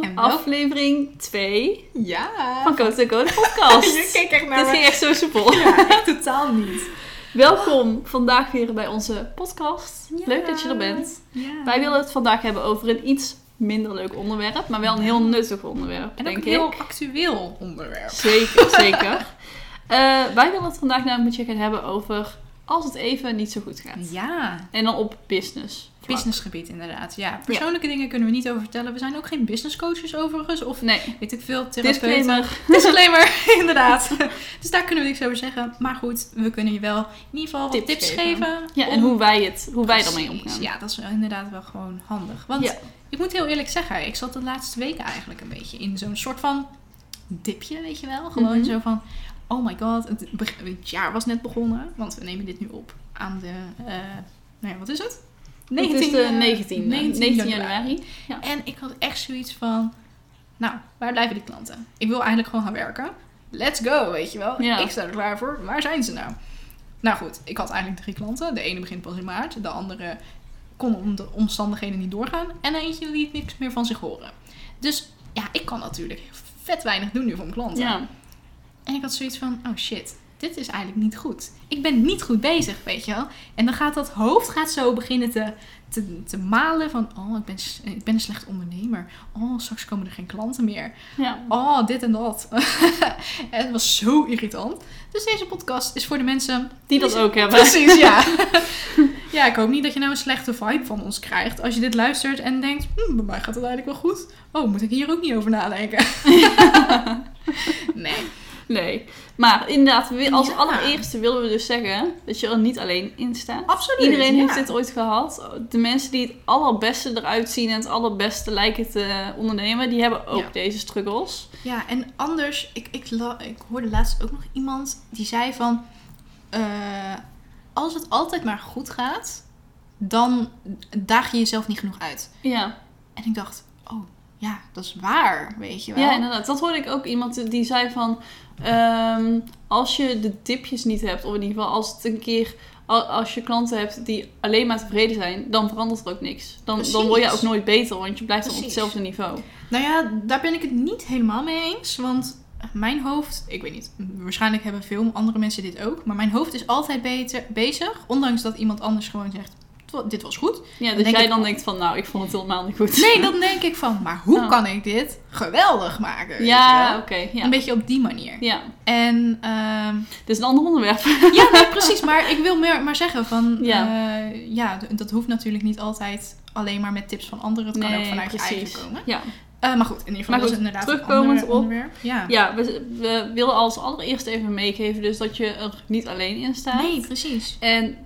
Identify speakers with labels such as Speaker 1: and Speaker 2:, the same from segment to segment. Speaker 1: En wel-
Speaker 2: Aflevering 2
Speaker 1: Ja.
Speaker 2: van Coat en Co, de podcast.
Speaker 1: Je keek echt naar
Speaker 2: Dit
Speaker 1: me.
Speaker 2: ging echt zo soepel.
Speaker 1: Ja, echt totaal niet.
Speaker 2: Welkom vandaag weer bij onze podcast.
Speaker 1: Ja.
Speaker 2: Leuk dat je er bent.
Speaker 1: Ja.
Speaker 2: Wij willen het vandaag hebben over een iets minder leuk onderwerp, maar wel een heel nuttig
Speaker 1: en
Speaker 2: onderwerp,
Speaker 1: ook
Speaker 2: denk
Speaker 1: een
Speaker 2: ik.
Speaker 1: heel actueel onderwerp.
Speaker 2: Zeker, zeker. Eh, wij willen het vandaag namelijk met je gaan hebben over als het even niet zo goed gaat.
Speaker 1: Ja.
Speaker 2: En dan op business. vlak.
Speaker 1: Businessgebied inderdaad. Ja, persoonlijke dingen kunnen we niet over vertellen. We zijn ook geen business coaches overigens. Of
Speaker 2: Nee,
Speaker 1: weet ik veel, therapeuten.
Speaker 2: disclaimer.
Speaker 1: Disclaimer, inderdaad. Dus daar kunnen we niks over zeggen. Maar goed, we kunnen je wel in ieder geval wat
Speaker 2: Tips
Speaker 1: tips geven.
Speaker 2: geven. Ja, en
Speaker 1: om-
Speaker 2: hoe wij, het, hoe wij ermee
Speaker 1: Precies.
Speaker 2: omgaan.
Speaker 1: Ja, dat is wel inderdaad wel gewoon handig. Want
Speaker 2: Ja.
Speaker 1: ik moet heel eerlijk zeggen, ik zat de laatste weken eigenlijk een beetje in zo'n soort van dipje, weet je wel. Gewoon
Speaker 2: Mhm.
Speaker 1: zo van, oh my god, het, beg- het jaar was net begonnen. Want we nemen dit nu op aan de, eh, nou ja, wat is het?
Speaker 2: het is de
Speaker 1: 19e
Speaker 2: 19e,
Speaker 1: 19
Speaker 2: 19 januari.
Speaker 1: januari. En ik had echt zoiets van, nou, waar blijven die klanten? Ik wil eigenlijk gewoon gaan werken. Let's go, weet je wel.
Speaker 2: Ja.
Speaker 1: Ik sta er klaar voor. Waar zijn ze nou? Nou goed, ik had eigenlijk drie klanten. De ene begint pas in maart. De andere kon om de omstandigheden niet doorgaan. En eentje liet niks meer van zich horen. Dus ja, ik kan natuurlijk vet weinig doen nu voor mijn klanten.
Speaker 2: Ja.
Speaker 1: En ik had zoiets van, oh shit, dit is eigenlijk niet goed. Ik ben niet goed bezig, weet je wel. En dan gaat dat hoofd gaat zo beginnen te, te, te malen van, oh, ik ben, s- ik ben een slecht ondernemer. Oh, straks komen er geen klanten meer.
Speaker 2: ja.
Speaker 1: Oh, dit en dat. en het was zo irritant. Dus deze podcast is voor de mensen...
Speaker 2: Die dat ook hebben.
Speaker 1: Precies, ja. ja, ik hoop niet dat je nou een slechte vibe van ons krijgt. Als je dit luistert en denkt, hm, bij mij gaat het eigenlijk wel goed. Oh, moet ik hier ook niet over nadenken? nee.
Speaker 2: Nee. Maar inderdaad, we- als
Speaker 1: Ja.
Speaker 2: allereerste willen we dus zeggen dat je er niet alleen in staat.
Speaker 1: Absoluut.
Speaker 2: Iedereen
Speaker 1: ja.
Speaker 2: heeft dit ooit gehad. De mensen die het allerbeste eruit zien en het allerbeste lijken te ondernemen, die hebben ook
Speaker 1: Ja.
Speaker 2: deze struggles.
Speaker 1: Ja, en anders, ik, ik, la- ik hoorde laatst ook nog iemand die zei van, eh, als het altijd maar goed gaat, dan daag je jezelf niet genoeg uit.
Speaker 2: Ja.
Speaker 1: En ik dacht, oh ja, dat is waar, weet je wel.
Speaker 2: ja, inderdaad. Dat hoorde ik ook iemand die zei van... ehm, als je de dipjes niet hebt, of in ieder geval als het een keer... al- Als je klanten hebt die alleen maar tevreden zijn, dan verandert er ook niks. Dan, dan word je
Speaker 1: Precies.
Speaker 2: ook nooit beter, want je blijft dan op
Speaker 1: Precies.
Speaker 2: hetzelfde niveau.
Speaker 1: Nou ja, daar ben ik het niet helemaal mee eens, want mijn hoofd, ik weet niet, waarschijnlijk hebben veel andere mensen dit ook, maar mijn hoofd is altijd beter bezig, ondanks dat iemand anders gewoon zegt, "Het wa- dit was goed.
Speaker 2: Ja,
Speaker 1: Dan
Speaker 2: dus
Speaker 1: denk
Speaker 2: jij
Speaker 1: ik-
Speaker 2: dan denkt van, nou, ik vond het helemaal niet goed.
Speaker 1: Nee, dan denk ik van, maar hoe
Speaker 2: Oh.
Speaker 1: kan ik dit geweldig maken? weet je
Speaker 2: Ja,
Speaker 1: wel?
Speaker 2: oké. ja.
Speaker 1: Een beetje op die manier.
Speaker 2: ja,
Speaker 1: En ehm,
Speaker 2: dit is een ander onderwerp.
Speaker 1: ja, nee, precies. Maar ik wil meer, maar zeggen van,
Speaker 2: Ja.
Speaker 1: ja. ja, d- dat hoeft natuurlijk niet altijd alleen maar met tips van anderen. Het kan ook vanuit je eigen komen.
Speaker 2: Ja.
Speaker 1: Eh, maar goed, in ieder geval
Speaker 2: Maar
Speaker 1: dat is
Speaker 2: goed,
Speaker 1: inderdaad
Speaker 2: terugkomend
Speaker 1: een ander
Speaker 2: op-
Speaker 1: onderwerp. Ja.
Speaker 2: ja, we, we willen als allereerst even meegeven dus dat je er niet alleen in staat.
Speaker 1: Nee, precies.
Speaker 2: En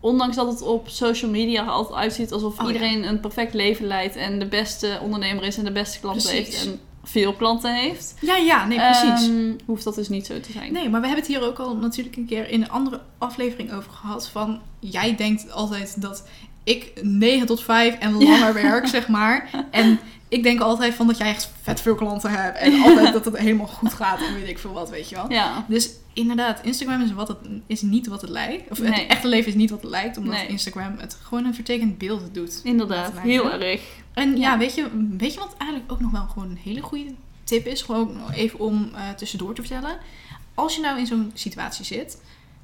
Speaker 2: ondanks dat het op social media er altijd uitziet alsof
Speaker 1: Oh,
Speaker 2: iedereen een perfect leven leidt en de beste ondernemer is en de beste klanten
Speaker 1: Precies.
Speaker 2: heeft en veel klanten heeft,
Speaker 1: Ja, ja, nee, precies.
Speaker 2: ehm, hoeft dat dus niet zo te zijn.
Speaker 1: Nee, maar we hebben het hier ook al natuurlijk een keer in een andere aflevering over gehad. Van jij denkt altijd dat ik 9 tot 5 en langer werk, zeg maar. En ik denk altijd van dat jij echt vet veel klanten hebt. En altijd dat het helemaal goed gaat en weet ik veel wat, weet je wel.
Speaker 2: Ja,
Speaker 1: Dus inderdaad, Instagram is, wat het, is niet wat het lijkt. Of
Speaker 2: Nee.
Speaker 1: het echte leven is niet wat het lijkt, omdat
Speaker 2: Nee.
Speaker 1: Instagram het gewoon een vertekend beeld doet.
Speaker 2: inderdaad.
Speaker 1: Laten we
Speaker 2: Heel
Speaker 1: maken.
Speaker 2: erg.
Speaker 1: En ja,
Speaker 2: Ja.
Speaker 1: weet, je, weet je wat eigenlijk ook nog wel gewoon een hele goede tip is? Gewoon even om eh, tussendoor te vertellen. Als je nou in zo'n situatie zit,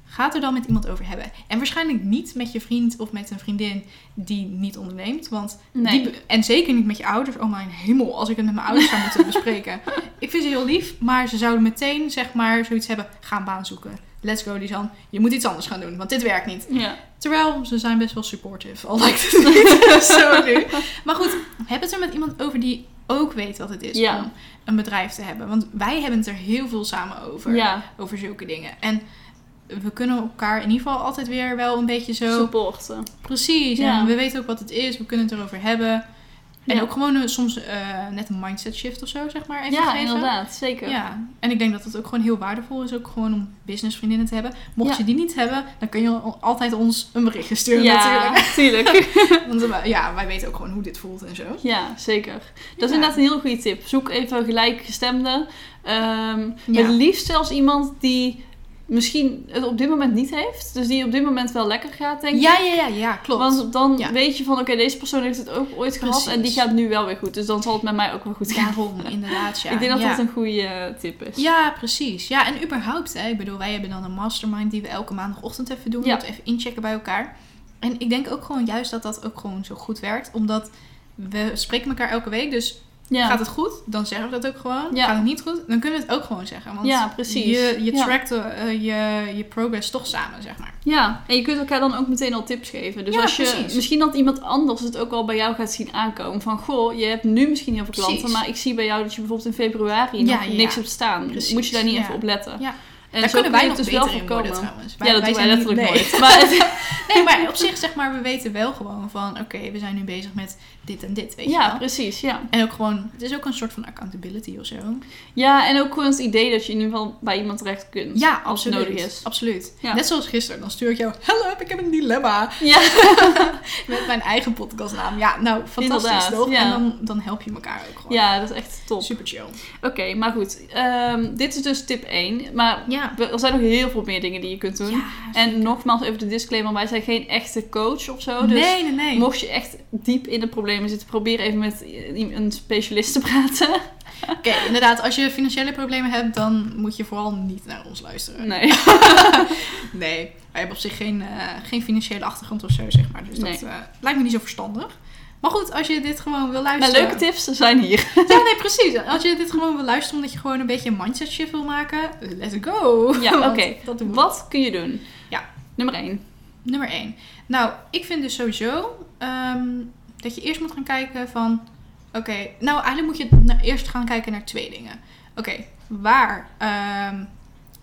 Speaker 1: ga het er dan met iemand over hebben. En waarschijnlijk niet met je vriend of met een vriendin die niet onderneemt. Want
Speaker 2: Nee.
Speaker 1: die be- en zeker niet met je ouders. Oh mijn hemel, als ik het met mijn ouders zou moeten bespreken. Ik vind ze heel lief, maar ze zouden meteen zeg maar zoiets hebben. Ga een baan zoeken. Let's go, Lisan. Je moet iets anders gaan doen, want dit werkt niet.
Speaker 2: Ja.
Speaker 1: Terwijl ze zijn best wel supportive. Al lijkt het niet zo nu. Maar goed, heb het er met iemand over die ook weet wat het is
Speaker 2: Ja.
Speaker 1: om een bedrijf te hebben. Want wij hebben het er heel veel samen over.
Speaker 2: ja,
Speaker 1: Over zulke dingen. En we kunnen elkaar in ieder geval altijd weer wel een beetje zo...
Speaker 2: supporten.
Speaker 1: Precies.
Speaker 2: Ja.
Speaker 1: En we weten ook wat het is. We kunnen het erover hebben. En
Speaker 2: Ja.
Speaker 1: ook gewoon een- soms eh, net een mindset shift of zo, zeg maar. Even
Speaker 2: Ja,
Speaker 1: geven.
Speaker 2: inderdaad, zeker.
Speaker 1: Ja, en ik denk dat het ook gewoon heel waardevol is, ook gewoon om businessvriendinnen te hebben. Mocht
Speaker 2: Ja.
Speaker 1: je die niet hebben, dan kun je al- altijd ons een berichtje sturen
Speaker 2: Ja,
Speaker 1: natuurlijk.
Speaker 2: natuurlijk.
Speaker 1: Want eh, ja, wij weten ook gewoon hoe dit voelt en zo.
Speaker 2: Ja, zeker. Dat is
Speaker 1: Ja.
Speaker 2: inderdaad een heel goede tip. Zoek even gelijkgestemden. Ehm
Speaker 1: Ja.
Speaker 2: Het liefst zelfs iemand die misschien het op dit moment niet heeft. Dus die op dit moment wel lekker gaat, denk ik.
Speaker 1: Ja, ja, ja, ja, klopt.
Speaker 2: Want dan
Speaker 1: Ja.
Speaker 2: weet je van, oké, deze persoon heeft het ook ooit gehad
Speaker 1: Precies.
Speaker 2: en die gaat nu wel weer goed. Dus dan zal het met mij ook wel goed gaan.
Speaker 1: Daarom, inderdaad, ja.
Speaker 2: ik denk dat
Speaker 1: ja.
Speaker 2: dat een goede eh, tip is.
Speaker 1: Ja, precies. Ja, en überhaupt, hè, ik bedoel, wij hebben dan een mastermind die we elke maandagochtend even doen.
Speaker 2: Ja.
Speaker 1: Dat we even inchecken bij elkaar. En ik denk ook gewoon juist dat dat ook gewoon zo goed werkt. Omdat we spreken elkaar elke week, dus
Speaker 2: Ja.
Speaker 1: gaat het goed, dan zeggen we dat ook gewoon.
Speaker 2: Ja.
Speaker 1: Gaat het niet goed, dan kunnen we het ook gewoon zeggen. Want
Speaker 2: Ja, precies.
Speaker 1: Je, je
Speaker 2: Ja.
Speaker 1: trackt eh, je, je progress toch samen, zeg maar.
Speaker 2: Ja, en je kunt elkaar dan ook meteen al tips geven. Dus
Speaker 1: Ja,
Speaker 2: als je,
Speaker 1: precies.
Speaker 2: misschien dat iemand anders het ook al bij jou gaat zien aankomen. Van, goh, je hebt nu misschien heel veel klanten,
Speaker 1: Precies.
Speaker 2: maar ik zie bij jou dat je bijvoorbeeld in februari
Speaker 1: Ja,
Speaker 2: nog
Speaker 1: ja.
Speaker 2: niks hebt staan.
Speaker 1: Precies,
Speaker 2: Moet je daar niet
Speaker 1: ja.
Speaker 2: even op letten.
Speaker 1: Ja.
Speaker 2: En
Speaker 1: Daar
Speaker 2: zo
Speaker 1: kunnen
Speaker 2: kun
Speaker 1: wij
Speaker 2: je
Speaker 1: nog
Speaker 2: het dus
Speaker 1: beter in worden trouwens.
Speaker 2: Ja, dat doen wij
Speaker 1: zijn niet-
Speaker 2: letterlijk
Speaker 1: nee.
Speaker 2: nooit. Maar het-
Speaker 1: Nee, maar op zich zeg maar, we weten wel gewoon van... Oké, we zijn nu bezig met dit en dit, weet je
Speaker 2: ja,
Speaker 1: wel.
Speaker 2: precies, ja.
Speaker 1: En ook gewoon, het is ook een soort van accountability of zo.
Speaker 2: Ja, en ook gewoon het idee dat je in ieder geval bij iemand terecht kunt.
Speaker 1: Ja,
Speaker 2: als het
Speaker 1: absoluut.
Speaker 2: nodig is.
Speaker 1: Absoluut.
Speaker 2: Ja.
Speaker 1: Net zoals gisteren, dan stuur ik jou: Help, ik heb een dilemma.
Speaker 2: Ja,
Speaker 1: Met mijn eigen podcastnaam. Ja, nou, fantastisch
Speaker 2: Inderdaad,
Speaker 1: toch?
Speaker 2: ja.
Speaker 1: En dan, dan help je elkaar ook gewoon.
Speaker 2: ja, dat is echt top.
Speaker 1: Super chill.
Speaker 2: Oké, maar goed. ehm, dit is dus tip 1. Maar
Speaker 1: Ja.
Speaker 2: we- er zijn nog heel veel meer dingen die je kunt doen.
Speaker 1: Ja,
Speaker 2: En nogmaals even de disclaimer, wij zijn geen echte coach of zo. Dus
Speaker 1: nee, nee, nee.
Speaker 2: mocht je echt diep in de problemen zitten, probeer even met i- een specialist te praten.
Speaker 1: Oké, inderdaad, als je financiële problemen hebt, dan moet je vooral niet naar ons luisteren.
Speaker 2: Nee.
Speaker 1: Nee, wij hebben op zich geen, eh, geen financiële achtergrond of zo, zeg maar. Dus dat
Speaker 2: Nee.
Speaker 1: eh, lijkt me niet zo verstandig. Maar goed, als je dit gewoon wil
Speaker 2: Maar
Speaker 1: luisteren.
Speaker 2: Nou, leuke tips zijn hier.
Speaker 1: Ja, nee, precies. Als je dit gewoon wil luisteren omdat je gewoon een beetje een mindset shift wil maken, let's go.
Speaker 2: Ja,
Speaker 1: Want
Speaker 2: oké.
Speaker 1: Dat doen we.
Speaker 2: Wat kun je doen?
Speaker 1: Ja.
Speaker 2: Nummer 1.
Speaker 1: Nummer 1. Nou, ik vind dus sowieso ehm, dat je eerst moet gaan kijken van... Oké, nou eigenlijk moet je na- eerst gaan kijken naar twee dingen. Oké, waar, ehm,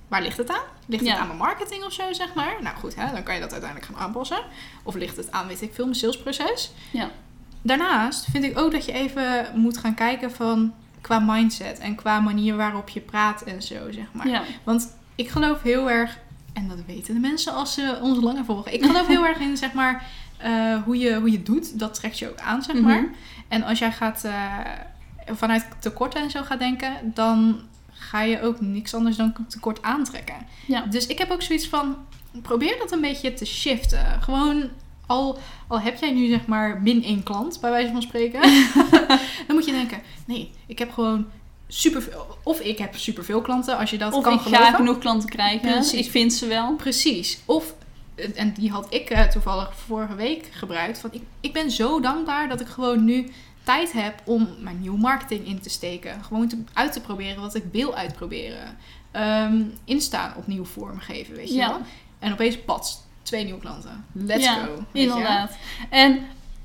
Speaker 1: waar ligt het aan? Ligt
Speaker 2: Ja.
Speaker 1: het aan mijn marketing of zo, zeg maar? Nou goed, hè, dan kan je dat uiteindelijk gaan aanpassen. Of ligt het aan, weet ik veel, mijn salesproces?
Speaker 2: Ja.
Speaker 1: Daarnaast vind ik ook dat je even moet gaan kijken van... qua mindset en qua manier waarop je praat en zo, zeg maar.
Speaker 2: Ja.
Speaker 1: Want ik geloof heel erg, en dat weten de mensen als ze ons langer volgen. Ik geloof heel erg in zeg maar eh, hoe, je, hoe je doet, dat trekt je ook aan, zeg maar.
Speaker 2: Mhm.
Speaker 1: En als jij gaat eh, vanuit tekorten en zo gaat denken, dan ga je ook niks anders dan tekort aantrekken.
Speaker 2: Ja.
Speaker 1: Dus ik heb ook zoiets van, probeer dat een beetje te shiften. Gewoon, al, al heb jij nu zeg maar min één klant, bij wijze van spreken. dan moet je denken, nee, ik heb gewoon superveel... Of ik heb superveel klanten, als je dat
Speaker 2: Of
Speaker 1: kan
Speaker 2: ik
Speaker 1: geloven.
Speaker 2: ga genoeg klanten krijgen.
Speaker 1: Precies.
Speaker 2: Ik vind ze wel.
Speaker 1: Precies. Of, en die had ik eh, toevallig vorige week gebruikt. Van ik, ik ben zo dankbaar dat ik gewoon nu tijd heb om mijn nieuwe marketing in te steken. Gewoon te, uit te proberen wat ik wil uitproberen. Ehm Insta opnieuw vormgeven, weet je
Speaker 2: Ja.
Speaker 1: wel. En opeens, pats, twee nieuwe klanten. Let's
Speaker 2: ja,
Speaker 1: go. weet je.
Speaker 2: Inderdaad. En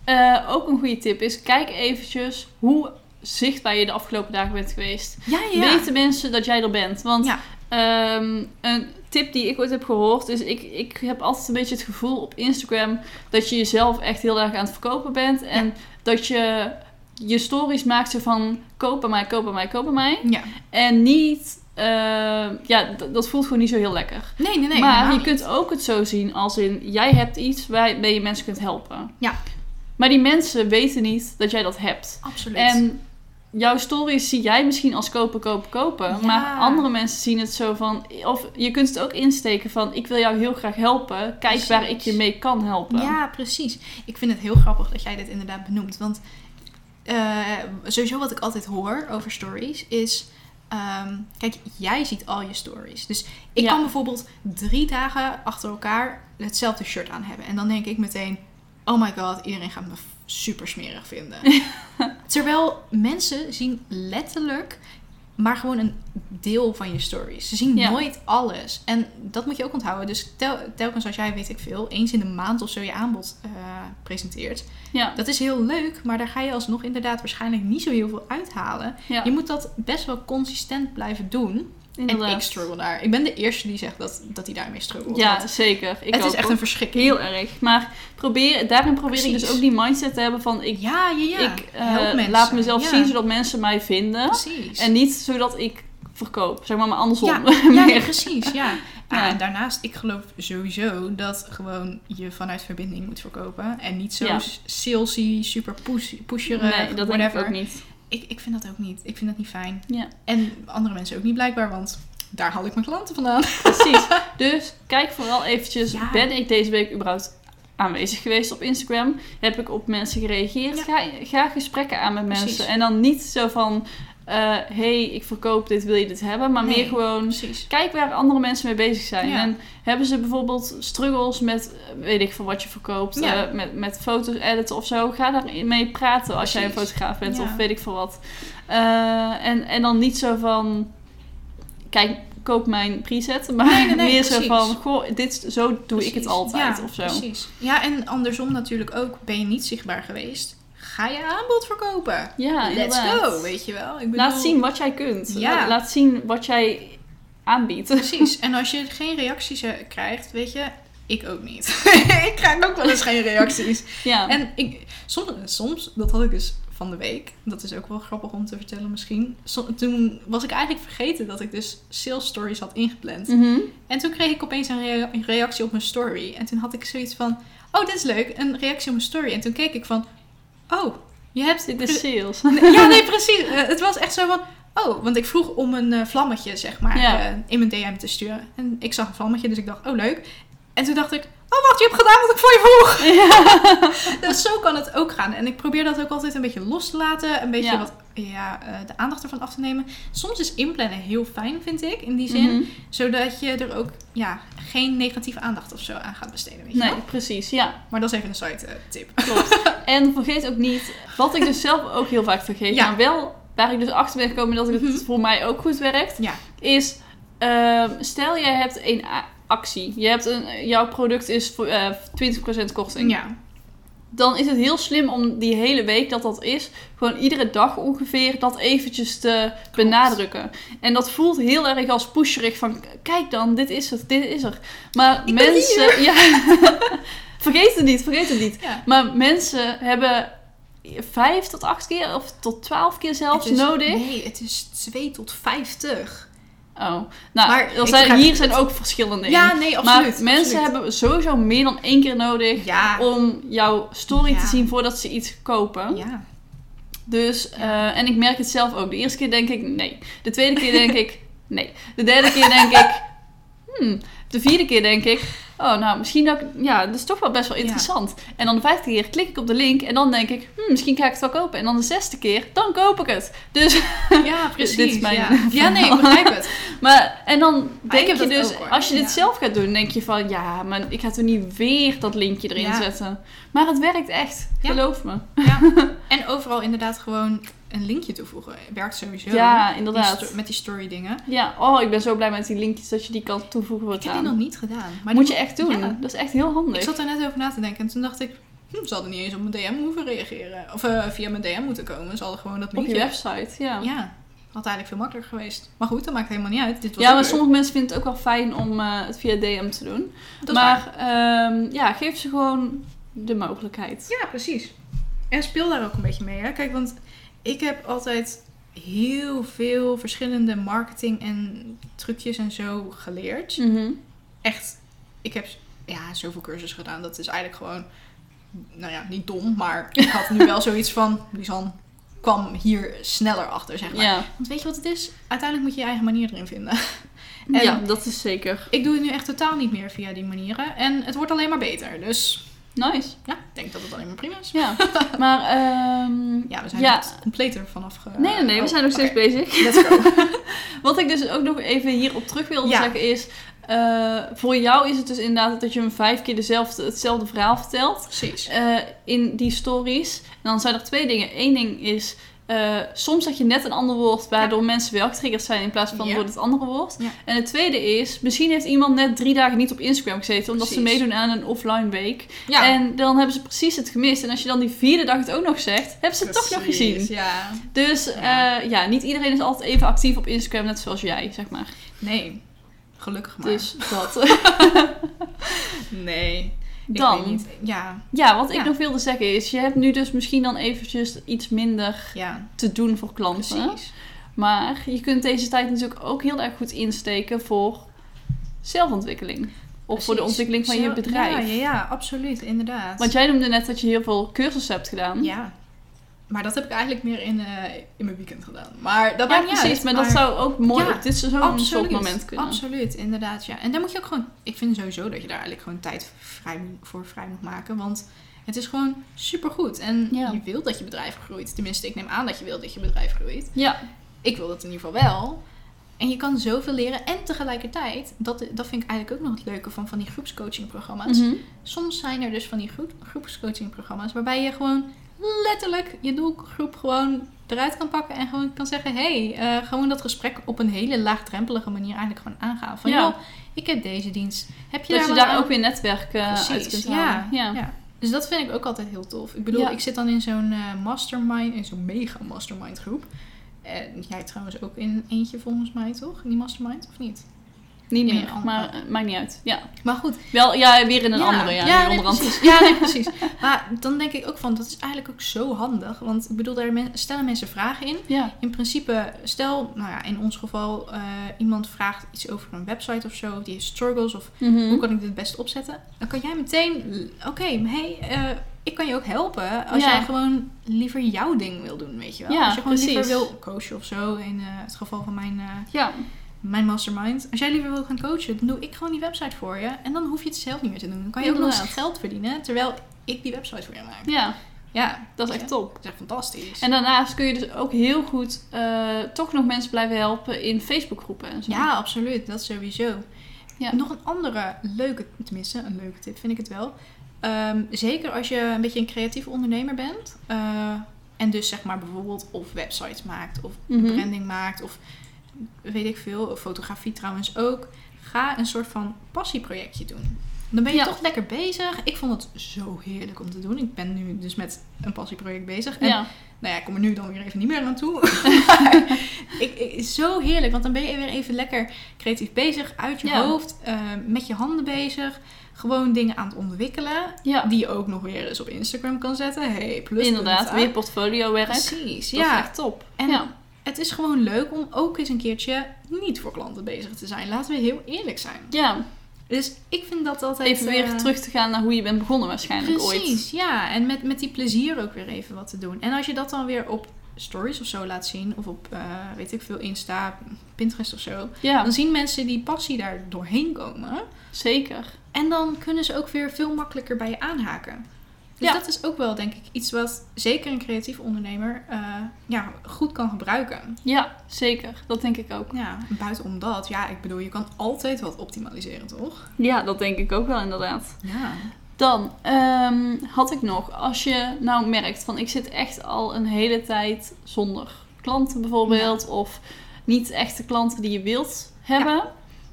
Speaker 2: eh, ook een goede tip is: kijk eventjes hoe zichtbaar je de afgelopen dagen bent geweest.
Speaker 1: Ja, ja. ja.
Speaker 2: weten mensen dat jij er bent. Want
Speaker 1: Ja.
Speaker 2: ehm, een tip die ik ooit heb gehoord is... Ik, ik heb altijd een beetje het gevoel op Instagram... dat je jezelf echt heel erg aan het verkopen bent. En dat je je stories maakt zo van... koop bij mij, koop bij mij, koop bij mij.
Speaker 1: Ja.
Speaker 2: En niet... ehm, ja, d- dat voelt gewoon niet zo heel lekker.
Speaker 1: Nee, nee, nee.
Speaker 2: maar
Speaker 1: helemaal
Speaker 2: je
Speaker 1: niet.
Speaker 2: kunt ook het zo zien als in... jij hebt iets waarbij je mensen kunt helpen.
Speaker 1: Ja.
Speaker 2: Maar die mensen weten niet dat jij dat hebt.
Speaker 1: Absoluut.
Speaker 2: En jouw stories zie jij misschien als kopen, kopen, kopen.
Speaker 1: Ja.
Speaker 2: Maar andere mensen zien het zo van... Of je kunt het ook insteken van... Ik wil jou heel graag helpen. Kijk
Speaker 1: Precies.
Speaker 2: waar ik je mee kan helpen.
Speaker 1: Ja, precies. Ik vind het heel grappig dat jij dit inderdaad benoemt. Want eh, sowieso wat ik altijd hoor over stories is... ehm, kijk, jij ziet al je stories. Dus ik
Speaker 2: Ja.
Speaker 1: kan bijvoorbeeld drie dagen achter elkaar hetzelfde shirt aan hebben. En dan denk ik meteen... Oh my god, iedereen gaat me f- super smerig vinden. Terwijl mensen zien letterlijk maar gewoon een deel van je stories. Ze zien
Speaker 2: Ja.
Speaker 1: nooit alles. En dat moet je ook onthouden. Dus tel- telkens als jij, weet ik veel, eens in de maand of zo je aanbod eh, presenteert.
Speaker 2: Ja.
Speaker 1: Dat is heel leuk, maar daar ga je alsnog inderdaad waarschijnlijk niet zo heel veel uithalen.
Speaker 2: Ja.
Speaker 1: Je moet dat best wel consistent blijven doen. En ik
Speaker 2: Inderdaad.
Speaker 1: struggle daar. Ik ben de eerste die zegt dat, dat hij daarmee struggelt.
Speaker 2: Ja,
Speaker 1: Want
Speaker 2: zeker. Ik
Speaker 1: het is
Speaker 2: ook,
Speaker 1: echt
Speaker 2: hoor.
Speaker 1: een verschrikking.
Speaker 2: heel erg. Maar probeer, daarin probeer ik dus
Speaker 1: Precies.
Speaker 2: ook die mindset te hebben van ik,
Speaker 1: Ja, ja, ja.
Speaker 2: ik eh,
Speaker 1: Help mensen.
Speaker 2: laat mezelf
Speaker 1: Ja,
Speaker 2: zien zodat mensen mij vinden.
Speaker 1: Precies.
Speaker 2: En niet zodat ik verkoop, zeg maar, maar andersom.
Speaker 1: Ja, ja,
Speaker 2: Meer.
Speaker 1: ja, precies, ja.
Speaker 2: Ja.
Speaker 1: Ah, en daarnaast, ik geloof sowieso dat gewoon je vanuit verbinding moet verkopen. En niet zo
Speaker 2: Ja.
Speaker 1: s- salesy, super push, pusherig,
Speaker 2: nee, dat denk
Speaker 1: whatever.
Speaker 2: ik ook niet.
Speaker 1: Ik, ik vind dat ook niet. Ik vind dat niet fijn.
Speaker 2: Ja.
Speaker 1: En andere mensen ook niet blijkbaar, want daar haal ik mijn klanten vandaan.
Speaker 2: Precies. Dus kijk vooral eventjes,
Speaker 1: Ja.
Speaker 2: ben ik deze week überhaupt aanwezig geweest op Instagram? Heb ik op mensen gereageerd?
Speaker 1: Ja.
Speaker 2: Ga, ga gesprekken aan met
Speaker 1: Precies.
Speaker 2: mensen. En dan niet zo van, eh, hey, ik verkoop dit, wil je dit hebben? Maar
Speaker 1: Nee.
Speaker 2: meer gewoon,
Speaker 1: Precies.
Speaker 2: kijk waar andere mensen mee bezig zijn.
Speaker 1: Ja.
Speaker 2: En hebben ze bijvoorbeeld struggles met, eh, weet ik van wat je verkoopt,
Speaker 1: Ja.
Speaker 2: eh, met, met foto's editen of zo. Ga daarmee praten als jij een
Speaker 1: Precies.
Speaker 2: fotograaf bent
Speaker 1: Ja.
Speaker 2: of weet ik van wat. Eh, en, en dan niet zo van, kijk, koop mijn preset. Maar
Speaker 1: Nee, nee, nee,
Speaker 2: meer zo
Speaker 1: precies.
Speaker 2: van, goh, dit, is- zo doe ik het
Speaker 1: Precies.
Speaker 2: altijd
Speaker 1: ja,
Speaker 2: of zo.
Speaker 1: Precies. Ja, en andersom natuurlijk ook. Ben je niet zichtbaar geweest? Ga je aanbod verkopen.
Speaker 2: Ja,
Speaker 1: Let's
Speaker 2: inderdaad.
Speaker 1: go, weet je wel. Ik bedoel,
Speaker 2: Laat zien wat jij kunt.
Speaker 1: Ja.
Speaker 2: La- Laat zien wat jij aanbiedt.
Speaker 1: Precies. En als je geen reacties eh, krijgt, weet je, ik ook niet. ik krijg ook wel eens geen reacties.
Speaker 2: ja.
Speaker 1: En ik, soms, soms, dat had ik dus van de week. Dat is ook wel grappig om te vertellen misschien. So- toen was ik eigenlijk vergeten dat ik dus sales stories had ingepland.
Speaker 2: Mhm.
Speaker 1: En toen kreeg ik opeens een rea- een reactie op mijn story. En toen had ik zoiets van, oh dit is leuk, een reactie op mijn story. En toen keek ik van, oh, je hebt
Speaker 2: Dit is sales.
Speaker 1: ja, nee, precies. Eh, het was echt zo van... Oh, want ik vroeg om een eh, vlammetje, zeg maar,
Speaker 2: Ja.
Speaker 1: eh, in mijn DM te sturen. En ik zag een vlammetje, dus ik dacht, oh leuk. En toen dacht ik, oh wacht, je hebt gedaan wat ik voor je vroeg. dus zo kan het ook gaan. En ik probeer dat ook altijd een beetje los te laten. Een beetje
Speaker 2: Ja.
Speaker 1: wat, ja, eh, de aandacht ervan af te nemen. Soms is inplannen heel fijn, vind ik, in die zin.
Speaker 2: Mhm.
Speaker 1: Zodat je er ook ja, geen negatieve aandacht of zo aan gaat besteden, weet je
Speaker 2: Nee,
Speaker 1: wel?
Speaker 2: precies. Ja,
Speaker 1: Maar dat is even een side eh, tip.
Speaker 2: Klopt. En vergeet ook niet, wat ik dus zelf ook heel vaak vergeet,
Speaker 1: Ja.
Speaker 2: maar wel waar ik dus achter ben gekomen dat het
Speaker 1: Mhm.
Speaker 2: voor mij ook goed werkt,
Speaker 1: Ja.
Speaker 2: is ehm, stel jij hebt een a- actie. Je hebt een, jouw product is voor, eh, 20% korting.
Speaker 1: Ja,
Speaker 2: Dan is het heel slim om die hele week dat dat is, gewoon iedere dag ongeveer dat eventjes te benadrukken. En dat voelt heel erg als pusherig van kijk dan, dit is het, dit is er. Maar
Speaker 1: Ik ben
Speaker 2: mensen, ja, vergeet het niet, vergeet het niet.
Speaker 1: ja.
Speaker 2: Maar mensen hebben vijf tot acht keer of tot twaalf keer zelfs
Speaker 1: Het is-
Speaker 2: nodig.
Speaker 1: Nee, het is 2 tot 50.
Speaker 2: Oh, nou,
Speaker 1: Maar
Speaker 2: er
Speaker 1: ik
Speaker 2: zijn,
Speaker 1: begrijp
Speaker 2: hier
Speaker 1: het.
Speaker 2: zijn ook verschillende in.
Speaker 1: Ja, nee,
Speaker 2: maar
Speaker 1: absoluut.
Speaker 2: mensen
Speaker 1: absoluut.
Speaker 2: hebben sowieso meer dan één keer nodig
Speaker 1: Ja.
Speaker 2: om jouw story te
Speaker 1: Ja.
Speaker 2: zien voordat ze iets kopen.
Speaker 1: Ja.
Speaker 2: Dus, eh, en ik merk het zelf ook. De eerste keer denk ik nee. De tweede keer denk ik nee. De derde keer denk ik hmm. De vierde keer denk ik, oh nou, misschien ook, ja, dat is toch wel best wel
Speaker 1: Ja.
Speaker 2: interessant. En dan de vijfde keer klik ik op de link en dan denk ik, hmm, misschien ga ik het wel kopen. En dan de zesde keer, dan koop ik het. Dus,
Speaker 1: ja, precies.
Speaker 2: Dit is mijn
Speaker 1: ja. ja, nee, ik begrijp het.
Speaker 2: maar, en dan denk
Speaker 1: Ah, heb
Speaker 2: je
Speaker 1: dat
Speaker 2: dus,
Speaker 1: ook, hoor.
Speaker 2: als je dit
Speaker 1: Ja.
Speaker 2: zelf gaat doen, denk je van, ja, maar ik ga toch niet weer dat linkje erin
Speaker 1: Ja.
Speaker 2: zetten. Maar het werkt echt,
Speaker 1: Ja.
Speaker 2: geloof me.
Speaker 1: Ja. En overal inderdaad gewoon een linkje toevoegen. Werkt sowieso.
Speaker 2: Ja,
Speaker 1: Die
Speaker 2: inderdaad.
Speaker 1: sto- met die story dingen.
Speaker 2: Ja, oh, ik ben zo blij met die linkjes dat je die kan toevoegen
Speaker 1: Ik heb die
Speaker 2: voortaan.
Speaker 1: nog niet gedaan. Maar
Speaker 2: Moet
Speaker 1: die-
Speaker 2: je echt doen.
Speaker 1: Ja.
Speaker 2: Dat is echt heel
Speaker 1: Ik
Speaker 2: handig.
Speaker 1: zat er net over na te denken en toen dacht ik... Hm, ze hadden niet eens op mijn DM hoeven reageren. Of eh, via mijn DM moeten komen. Ze hadden gewoon dat
Speaker 2: Op je
Speaker 1: linkje.
Speaker 2: website, ja. Ja,
Speaker 1: Ja. Had eigenlijk veel makkelijker geweest. Maar goed, dat maakt helemaal niet uit. Dit was ook
Speaker 2: maar
Speaker 1: leuk.
Speaker 2: sommige mensen vinden het ook wel fijn om eh, het via DM te doen.
Speaker 1: Dat is waar.
Speaker 2: maar ehm, ja, geef ze gewoon de mogelijkheid.
Speaker 1: Ja, precies. En speel daar ook een beetje mee. Hè? Kijk, want ik heb altijd heel veel verschillende marketing en trucjes en zo geleerd.
Speaker 2: Mhm.
Speaker 1: Echt, ik heb ja, zoveel cursussen gedaan. Dat is eigenlijk gewoon, nou ja, niet dom, maar ik had nu wel zoiets van, Lisan kwam hier sneller achter, zeg maar.
Speaker 2: Ja.
Speaker 1: Want weet je wat het is? Uiteindelijk moet je je eigen manier erin vinden. En-
Speaker 2: ja, dat is zeker.
Speaker 1: Ik doe het nu echt totaal niet meer via die manieren. En het wordt alleen maar beter. Dus
Speaker 2: Nice.
Speaker 1: ja, ik denk dat het alleen maar prima is.
Speaker 2: Ja, maar ehm,
Speaker 1: Ja, we zijn
Speaker 2: Ja.
Speaker 1: er compleet er vanaf ge...
Speaker 2: Nee, nee, nee, we
Speaker 1: Oh,
Speaker 2: zijn nog steeds
Speaker 1: oké.
Speaker 2: bezig.
Speaker 1: Let's go.
Speaker 2: Wat ik dus ook nog even hierop terug wilde
Speaker 1: Ja.
Speaker 2: zeggen is... eh, voor jou is het dus inderdaad dat je hem vijf keer dezelfde, hetzelfde verhaal vertelt.
Speaker 1: Precies.
Speaker 2: eh, in die stories. En dan zijn er twee dingen. Eén ding is, eh, soms zeg je net een ander woord waardoor mensen wel getriggerd zijn in plaats van
Speaker 1: Ja.
Speaker 2: door het andere woord.
Speaker 1: Ja.
Speaker 2: En het tweede is, misschien heeft iemand net drie dagen niet op Instagram gezeten omdat ze
Speaker 1: Precies.
Speaker 2: meedoen aan een offline week.
Speaker 1: Ja.
Speaker 2: En dan hebben ze precies het gemist. En als je dan die vierde dag het ook nog zegt, hebben ze het toch nog
Speaker 1: Precies,
Speaker 2: gezien.
Speaker 1: Ja.
Speaker 2: Dus
Speaker 1: Ja.
Speaker 2: eh, ja, niet iedereen is altijd even actief op Instagram, net zoals jij, zeg maar.
Speaker 1: Nee. Gelukkig maar.
Speaker 2: Dus dat.
Speaker 1: nee. Ik
Speaker 2: Dan.
Speaker 1: weet niet. Ja.
Speaker 2: ja, wat ik
Speaker 1: Ja.
Speaker 2: nog wilde zeggen is, je hebt nu dus misschien dan eventjes iets minder
Speaker 1: Ja.
Speaker 2: te doen voor klanten.
Speaker 1: Precies.
Speaker 2: Maar je kunt deze tijd natuurlijk ook heel erg goed insteken voor zelfontwikkeling. Of voor de
Speaker 1: Precies.
Speaker 2: ontwikkeling van je
Speaker 1: Zo-
Speaker 2: bedrijf.
Speaker 1: Ja, ja, ja, absoluut. Inderdaad.
Speaker 2: Want jij noemde net dat je heel veel cursussen hebt gedaan.
Speaker 1: Ja. Maar dat heb ik eigenlijk meer in, eh, in mijn weekend gedaan. Maar dat
Speaker 2: Ja,
Speaker 1: maakt niet
Speaker 2: precies.
Speaker 1: uit,
Speaker 2: maar, dat zou ook mooi
Speaker 1: Ja,
Speaker 2: Oh, dus op dit zo'n soort
Speaker 1: absoluut,
Speaker 2: moment kunnen.
Speaker 1: Absoluut, inderdaad. Ja. En daar moet je ook gewoon... Ik vind sowieso dat je daar eigenlijk gewoon tijd vrij, moet- voor vrij moet maken. Want het is gewoon supergoed. En
Speaker 2: Ja.
Speaker 1: je wilt dat je bedrijf groeit. Tenminste, ik neem aan dat je wilt dat je bedrijf groeit.
Speaker 2: Ja,
Speaker 1: Ik wil dat in ieder geval wel. En je kan zoveel leren. En tegelijkertijd, dat, dat vind ik eigenlijk ook nog het leuke van, van die groepscoachingprogramma's.
Speaker 2: mhm.
Speaker 1: Soms zijn er dus van die groep, groepscoachingprogramma's waarbij je gewoon letterlijk je doelgroep gewoon eruit kan pakken en gewoon kan zeggen: hé, hey, eh, gewoon dat gesprek op een hele laagdrempelige manier eigenlijk gewoon aangaan. Van
Speaker 2: Ja.
Speaker 1: joh, ik heb deze dienst. Heb je
Speaker 2: dat je
Speaker 1: daar,
Speaker 2: daar ook
Speaker 1: weer
Speaker 2: weer netwerken eh, uit kunt
Speaker 1: Precies, ja,
Speaker 2: halen.
Speaker 1: ja. Dus dat vind ik ook altijd heel tof. Ik bedoel,
Speaker 2: Ja.
Speaker 1: ik zit dan in zo'n eh, mastermind, in zo'n mega mastermind groep. En jij trouwens ook in eentje volgens mij, toch? In die mastermind, of niet?
Speaker 2: Niet
Speaker 1: Ja,
Speaker 2: meer,
Speaker 1: ander-
Speaker 2: maar eh, maakt niet uit. Ja.
Speaker 1: Maar goed,
Speaker 2: Wel, ja, weer in een andere. Ja,
Speaker 1: nee,
Speaker 2: in een andere
Speaker 1: precies. Ja, nee, precies. Maar dan denk ik ook van, dat is eigenlijk ook zo handig. Want ik bedoel, daar men- stellen mensen vragen in.
Speaker 2: Ja.
Speaker 1: In principe, stel, nou ja, in ons geval, eh, iemand vraagt iets over een website of zo. Die heeft struggles of
Speaker 2: Mhm.
Speaker 1: hoe kan ik dit het best opzetten? Dan kan jij meteen, l- oké, hey, eh, ik kan je ook helpen. Als
Speaker 2: Ja.
Speaker 1: jij gewoon liever jouw ding wil doen, weet je wel.
Speaker 2: Ja,
Speaker 1: als je gewoon liever
Speaker 2: precies.
Speaker 1: wil coachen of zo, in eh, het geval van mijn... eh,
Speaker 2: Ja.
Speaker 1: mijn mastermind. Als jij liever wil gaan coachen, dan doe ik gewoon die website voor je. En dan hoef je het zelf niet meer te doen. Dan kan je ook nog eens
Speaker 2: Inderdaad.
Speaker 1: geld verdienen, terwijl ik die website voor je maak.
Speaker 2: ja,
Speaker 1: Ja,
Speaker 2: dat is echt top.
Speaker 1: Dat is echt fantastisch.
Speaker 2: En daarnaast kun je dus ook heel goed eh, toch nog mensen blijven helpen in Facebookgroepen en zo.
Speaker 1: ja, absoluut. Dat sowieso.
Speaker 2: Ja.
Speaker 1: Nog een andere leuke, tenminste een leuke tip vind ik het wel. Ehm, zeker als je een beetje een creatief ondernemer bent. eh, en dus zeg maar bijvoorbeeld of websites maakt of
Speaker 2: Mhm.
Speaker 1: branding maakt of weet ik veel, fotografie trouwens ook. Ga een soort van passieprojectje doen. Dan ben je
Speaker 2: Ja.
Speaker 1: toch lekker bezig. Ik vond het zo heerlijk om te doen. Ik ben nu dus met een passieproject bezig. En
Speaker 2: Ja.
Speaker 1: nou ja, ik kom er nu dan weer even niet meer aan toe. Maar ik, ik, zo heerlijk, want dan ben je weer even lekker creatief bezig, uit je
Speaker 2: Ja.
Speaker 1: hoofd, eh, met je handen bezig. Gewoon dingen aan het ontwikkelen,
Speaker 2: ja.
Speaker 1: die je ook nog weer eens op Instagram kan zetten. Hey, plus
Speaker 2: Inderdaad, weer portfolio werk.
Speaker 1: Precies,
Speaker 2: Dat is
Speaker 1: ja.
Speaker 2: echt top.
Speaker 1: En
Speaker 2: ja.
Speaker 1: het is gewoon leuk om ook eens een keertje niet voor klanten bezig te zijn. Laten we heel eerlijk zijn.
Speaker 2: ja,
Speaker 1: Dus ik vind dat altijd...
Speaker 2: even weer
Speaker 1: eh,
Speaker 2: terug te gaan naar hoe je bent begonnen waarschijnlijk ooit.
Speaker 1: Precies, ja. En met, met die plezier ook weer even wat te doen. En als je dat dan weer op stories of zo laat zien, of op, eh, weet ik veel, Insta, Pinterest of zo,
Speaker 2: Ja,
Speaker 1: dan zien mensen die passie daar doorheen komen.
Speaker 2: zeker.
Speaker 1: En dan kunnen ze ook weer veel makkelijker bij je aanhaken. Dus
Speaker 2: Ja.
Speaker 1: dat is ook wel, denk ik, iets wat zeker een creatief ondernemer eh, ja, goed kan gebruiken.
Speaker 2: Ja, zeker. Dat denk ik ook.
Speaker 1: Ja, en buitenom dat, ja, ik bedoel, je kan altijd wat optimaliseren, toch?
Speaker 2: Ja, dat denk ik ook wel inderdaad.
Speaker 1: Ja.
Speaker 2: Dan ehm, had ik nog, als je nou merkt van ik zit echt al een hele tijd zonder klanten bijvoorbeeld, of niet echt de klanten die je wilt hebben,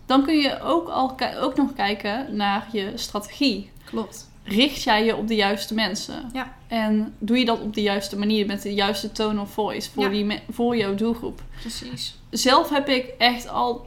Speaker 2: dan kun je ook, al, ki- ook nog kijken naar je strategie.
Speaker 1: Klopt.
Speaker 2: Richt jij je op de juiste mensen?
Speaker 1: Ja.
Speaker 2: En doe je dat op de juiste manier, met de juiste tone of voice voor,
Speaker 1: Ja.
Speaker 2: die, me- voor jouw doelgroep?
Speaker 1: Precies.
Speaker 2: Zelf heb ik echt al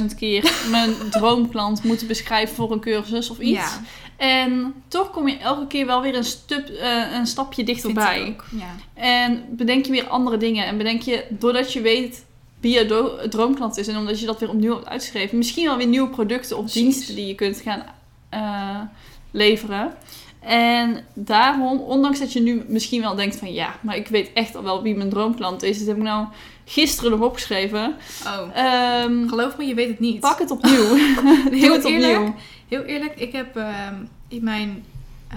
Speaker 2: 20.000 keer mijn droomklant moeten beschrijven voor een cursus of iets.
Speaker 1: Ja,
Speaker 2: En toch kom je elke keer wel weer een, stup, eh, een stapje
Speaker 1: vind
Speaker 2: dichterbij.
Speaker 1: ik ook. Ja.
Speaker 2: En bedenk je weer andere dingen. En bedenk je, doordat je weet wie je do- droomklant is en omdat je dat weer opnieuw hebt uitgeschreven, misschien wel weer nieuwe producten of
Speaker 1: Precies.
Speaker 2: diensten die je kunt gaan eh, leveren. En daarom, ondanks dat je nu misschien wel denkt van ja, maar ik weet echt al wel wie mijn droomklant is. Dat heb ik nou gisteren nog opgeschreven.
Speaker 1: Oh.
Speaker 2: Ehm,
Speaker 1: Geloof me, je weet het niet.
Speaker 2: pak het opnieuw. Doe het
Speaker 1: eerlijk,
Speaker 2: opnieuw.
Speaker 1: Heel eerlijk, ik heb ehm, in mijn. eh,